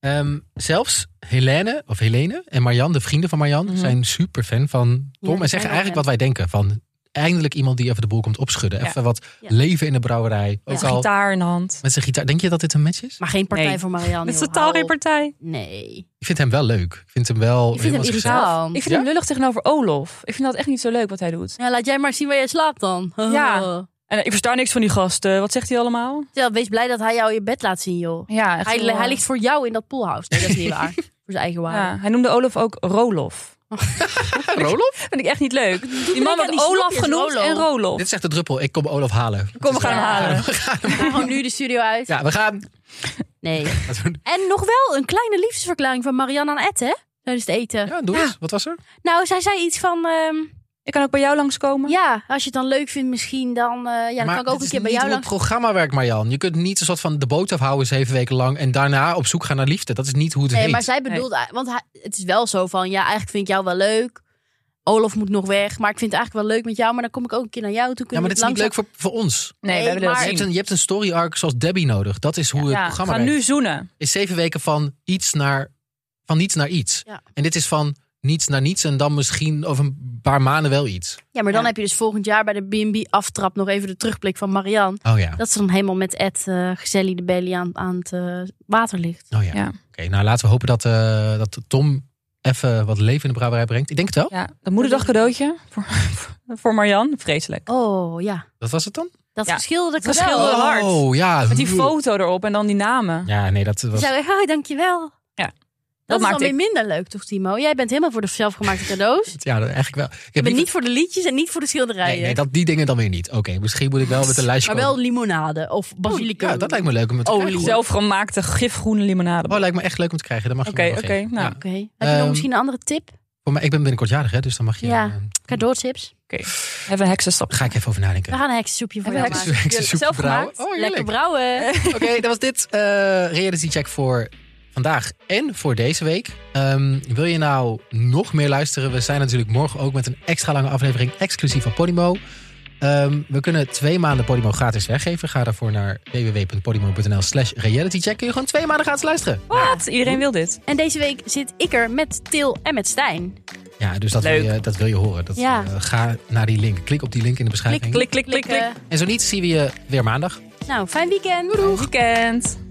A: Ehm, zelfs Helene, of Helene en Marjan, de vrienden van Marjan,
C: Mhm.
A: zijn super fan van Tom.
B: Ja,
A: en zeggen
B: heel
A: eigenlijk
B: fan.
A: wat wij denken. Van eindelijk iemand die even de boel komt opschudden.
C: Ja.
A: Even wat
B: Ja.
A: leven in de brouwerij. Ook al
C: Gitaar in de hand.
A: met zijn gitaar. Denk je dat dit een match is?
B: Maar geen partij
C: Nee.
B: voor Marianne.
C: Dat is
B: joh,
C: totaal
B: hou
C: geen
B: op.
C: partij.
B: Nee.
A: Ik vind hem wel leuk. Ik vind hem wel...
B: Ik vind
A: Oh,
B: hem
A: helemaal zichzelf.
B: irritant.
C: Ik vind hem lullig tegenover Olof. Ik vind dat echt niet zo leuk wat hij doet.
B: Ja, laat jij maar zien waar jij slaapt dan.
C: Ja. En eh, ik versta niks van die gasten. Wat zegt hij allemaal?
B: Stel, wees blij dat hij jou je bed laat zien, joh.
C: Ja, echt
B: Hij,
A: eh,
C: heel-
B: hij ligt voor jou in dat poolhouse. Nee, dat is niet waar. voor zijn eigen waarde.
C: Ja, hij noemde Olof ook Rolof.
A: Rolof?
C: Vind ik echt niet leuk. Die man
B: ik aan
C: wordt
B: die
C: Olaf
B: snoepjes,
C: genoemd
B: Rolof.
C: en Rolof.
A: Dit zegt de druppel. Ik kom Olaf halen. Dus
C: Kom, we gaan hem
B: Ja.
C: halen.
B: Gewoon nu de studio uit.
A: Ja, we gaan.
B: Nee. En nog wel een kleine liefdesverklaring van Marianne aan Ed, hè? Tijdens het eten.
A: Ja, doe eens. Wat was er?
B: Nou, zij zei iets van... ehm,
C: Ik kan ook bij jou langskomen.
B: ja, als je het dan leuk vindt misschien, dan, eh, ja, dan kan ik ook een keer bij jou
A: Het
B: langs.
A: programma werkt, Marjan. Je kunt niet een soort van de boot afhouden zeven weken lang en daarna op zoek gaan naar liefde. Dat is niet hoe het
B: Nee,
A: heet.
B: maar zij bedoelt... Want hij- het is wel zo van, ja, eigenlijk vind ik jou wel leuk. Olaf moet nog weg, maar ik vind het eigenlijk wel leuk met jou. Maar dan kom ik ook een keer naar jou
A: ja,
B: toe. Kunnen
A: maar
B: we
A: dit is
B: het
A: niet leuk voor, voor ons.
C: Nee,
B: Nee,
C: we hebben dat
B: maar-
A: Je
C: gezien.
A: hebt, een, je hebt een story arc zoals Debbie nodig. Dat is hoe het
C: Ja,
A: programma
C: ga
A: werkt.
C: nu zoenen.
A: Is zeven weken van iets naar van niets naar iets.
B: Ja.
A: En dit is van niets naar niets en dan misschien over een paar maanden wel iets.
B: Ja, maar dan
C: Ja.
B: heb je dus volgend jaar bij de B&B aftrap nog even de terugblik van Marianne.
A: Oh ja.
B: Dat ze dan helemaal met Ed eh Gezelli de Belly aan, aan het eh, water ligt.
A: Oh ja.
C: Ja.
A: Oké, nou laten we hopen dat, eh, dat Tom even wat leven in de brouwerij brengt. Ik denk het wel.
C: Ja, dat moederdag cadeautje voor, voor Marian. Vreselijk.
B: Oh ja,
A: Dat was het dan?
B: dat
C: Ja.
B: verschilde ik
C: Dat
B: wel.
C: verschilde- Heel hard.
A: Oh ja.
C: Met die foto erop en dan die namen.
A: Ja, nee, dat
B: Je
A: was.
B: zei, oh, dankjewel.
C: Ja.
B: Dat,
C: Dat
B: is
C: maakt
B: dan weer
C: ik-
B: minder leuk, toch Timo? Jij bent helemaal voor de zelfgemaakte cadeaus. Ik
A: Ja, dat- eigenlijk wel. Ik heb
B: ben
A: liever-
B: niet voor de liedjes en niet voor de schilderijen.
A: Nee, nee dat, die dingen dan weer niet. Oké, misschien moet ik wel met een lijstje
B: maar wel
A: komen.
B: limonade of basilicum.
A: Oh, Ja, dat lijkt me leuk om het te
C: Oh,
B: Olie.
A: krijgen. hoor.
C: Zelfgemaakte gifgroene limonade.
A: Oh, lijkt me echt leuk om te krijgen. Dan mag je
C: Oké,
A: me wel
C: oké,
A: geven.
C: nou.
A: Ja.
B: Oké. Heb je nog
A: Ehm,
B: misschien een andere tip?
A: Voor mij, ik ben binnenkort jarig, hè, dus dan mag je...
B: Ja.
A: eh,
B: Cadeautips?
C: Even een heksenstap.
A: ga ik even over nadenken.
B: We gaan een heksensoepje voor
C: Even
B: jou
C: een
B: maken.
A: Heksensoep
C: Zelf
A: brouwen.
C: gemaakt.
A: Oh, heerlijk.
B: Lekker brouwen.
A: Oké, dat was dit. eh reality check voor vandaag en voor deze week. Ehm, wil je nou nog meer luisteren? We zijn natuurlijk morgen ook met een extra lange aflevering exclusief van Podimo. Ehm, we kunnen twee maanden Podimo gratis weggeven. Ga daarvoor naar www.podimo.nl slash realitycheck. Kun je gewoon twee maanden gratis luisteren.
C: Wat? Iedereen wil dit.
B: En deze week zit ik er met Til en met Stijn.
A: Ja, dus dat, wil
C: Leuk.
A: je, dat wil je horen. Dat,
B: Ja.
A: eh, ga naar die link. Klik op die link in de beschrijving.
C: Klik, klik, klik, klik.
B: Klikken.
A: En zo niet, zien we je weer maandag.
B: Nou, fijn weekend.
C: Weekend.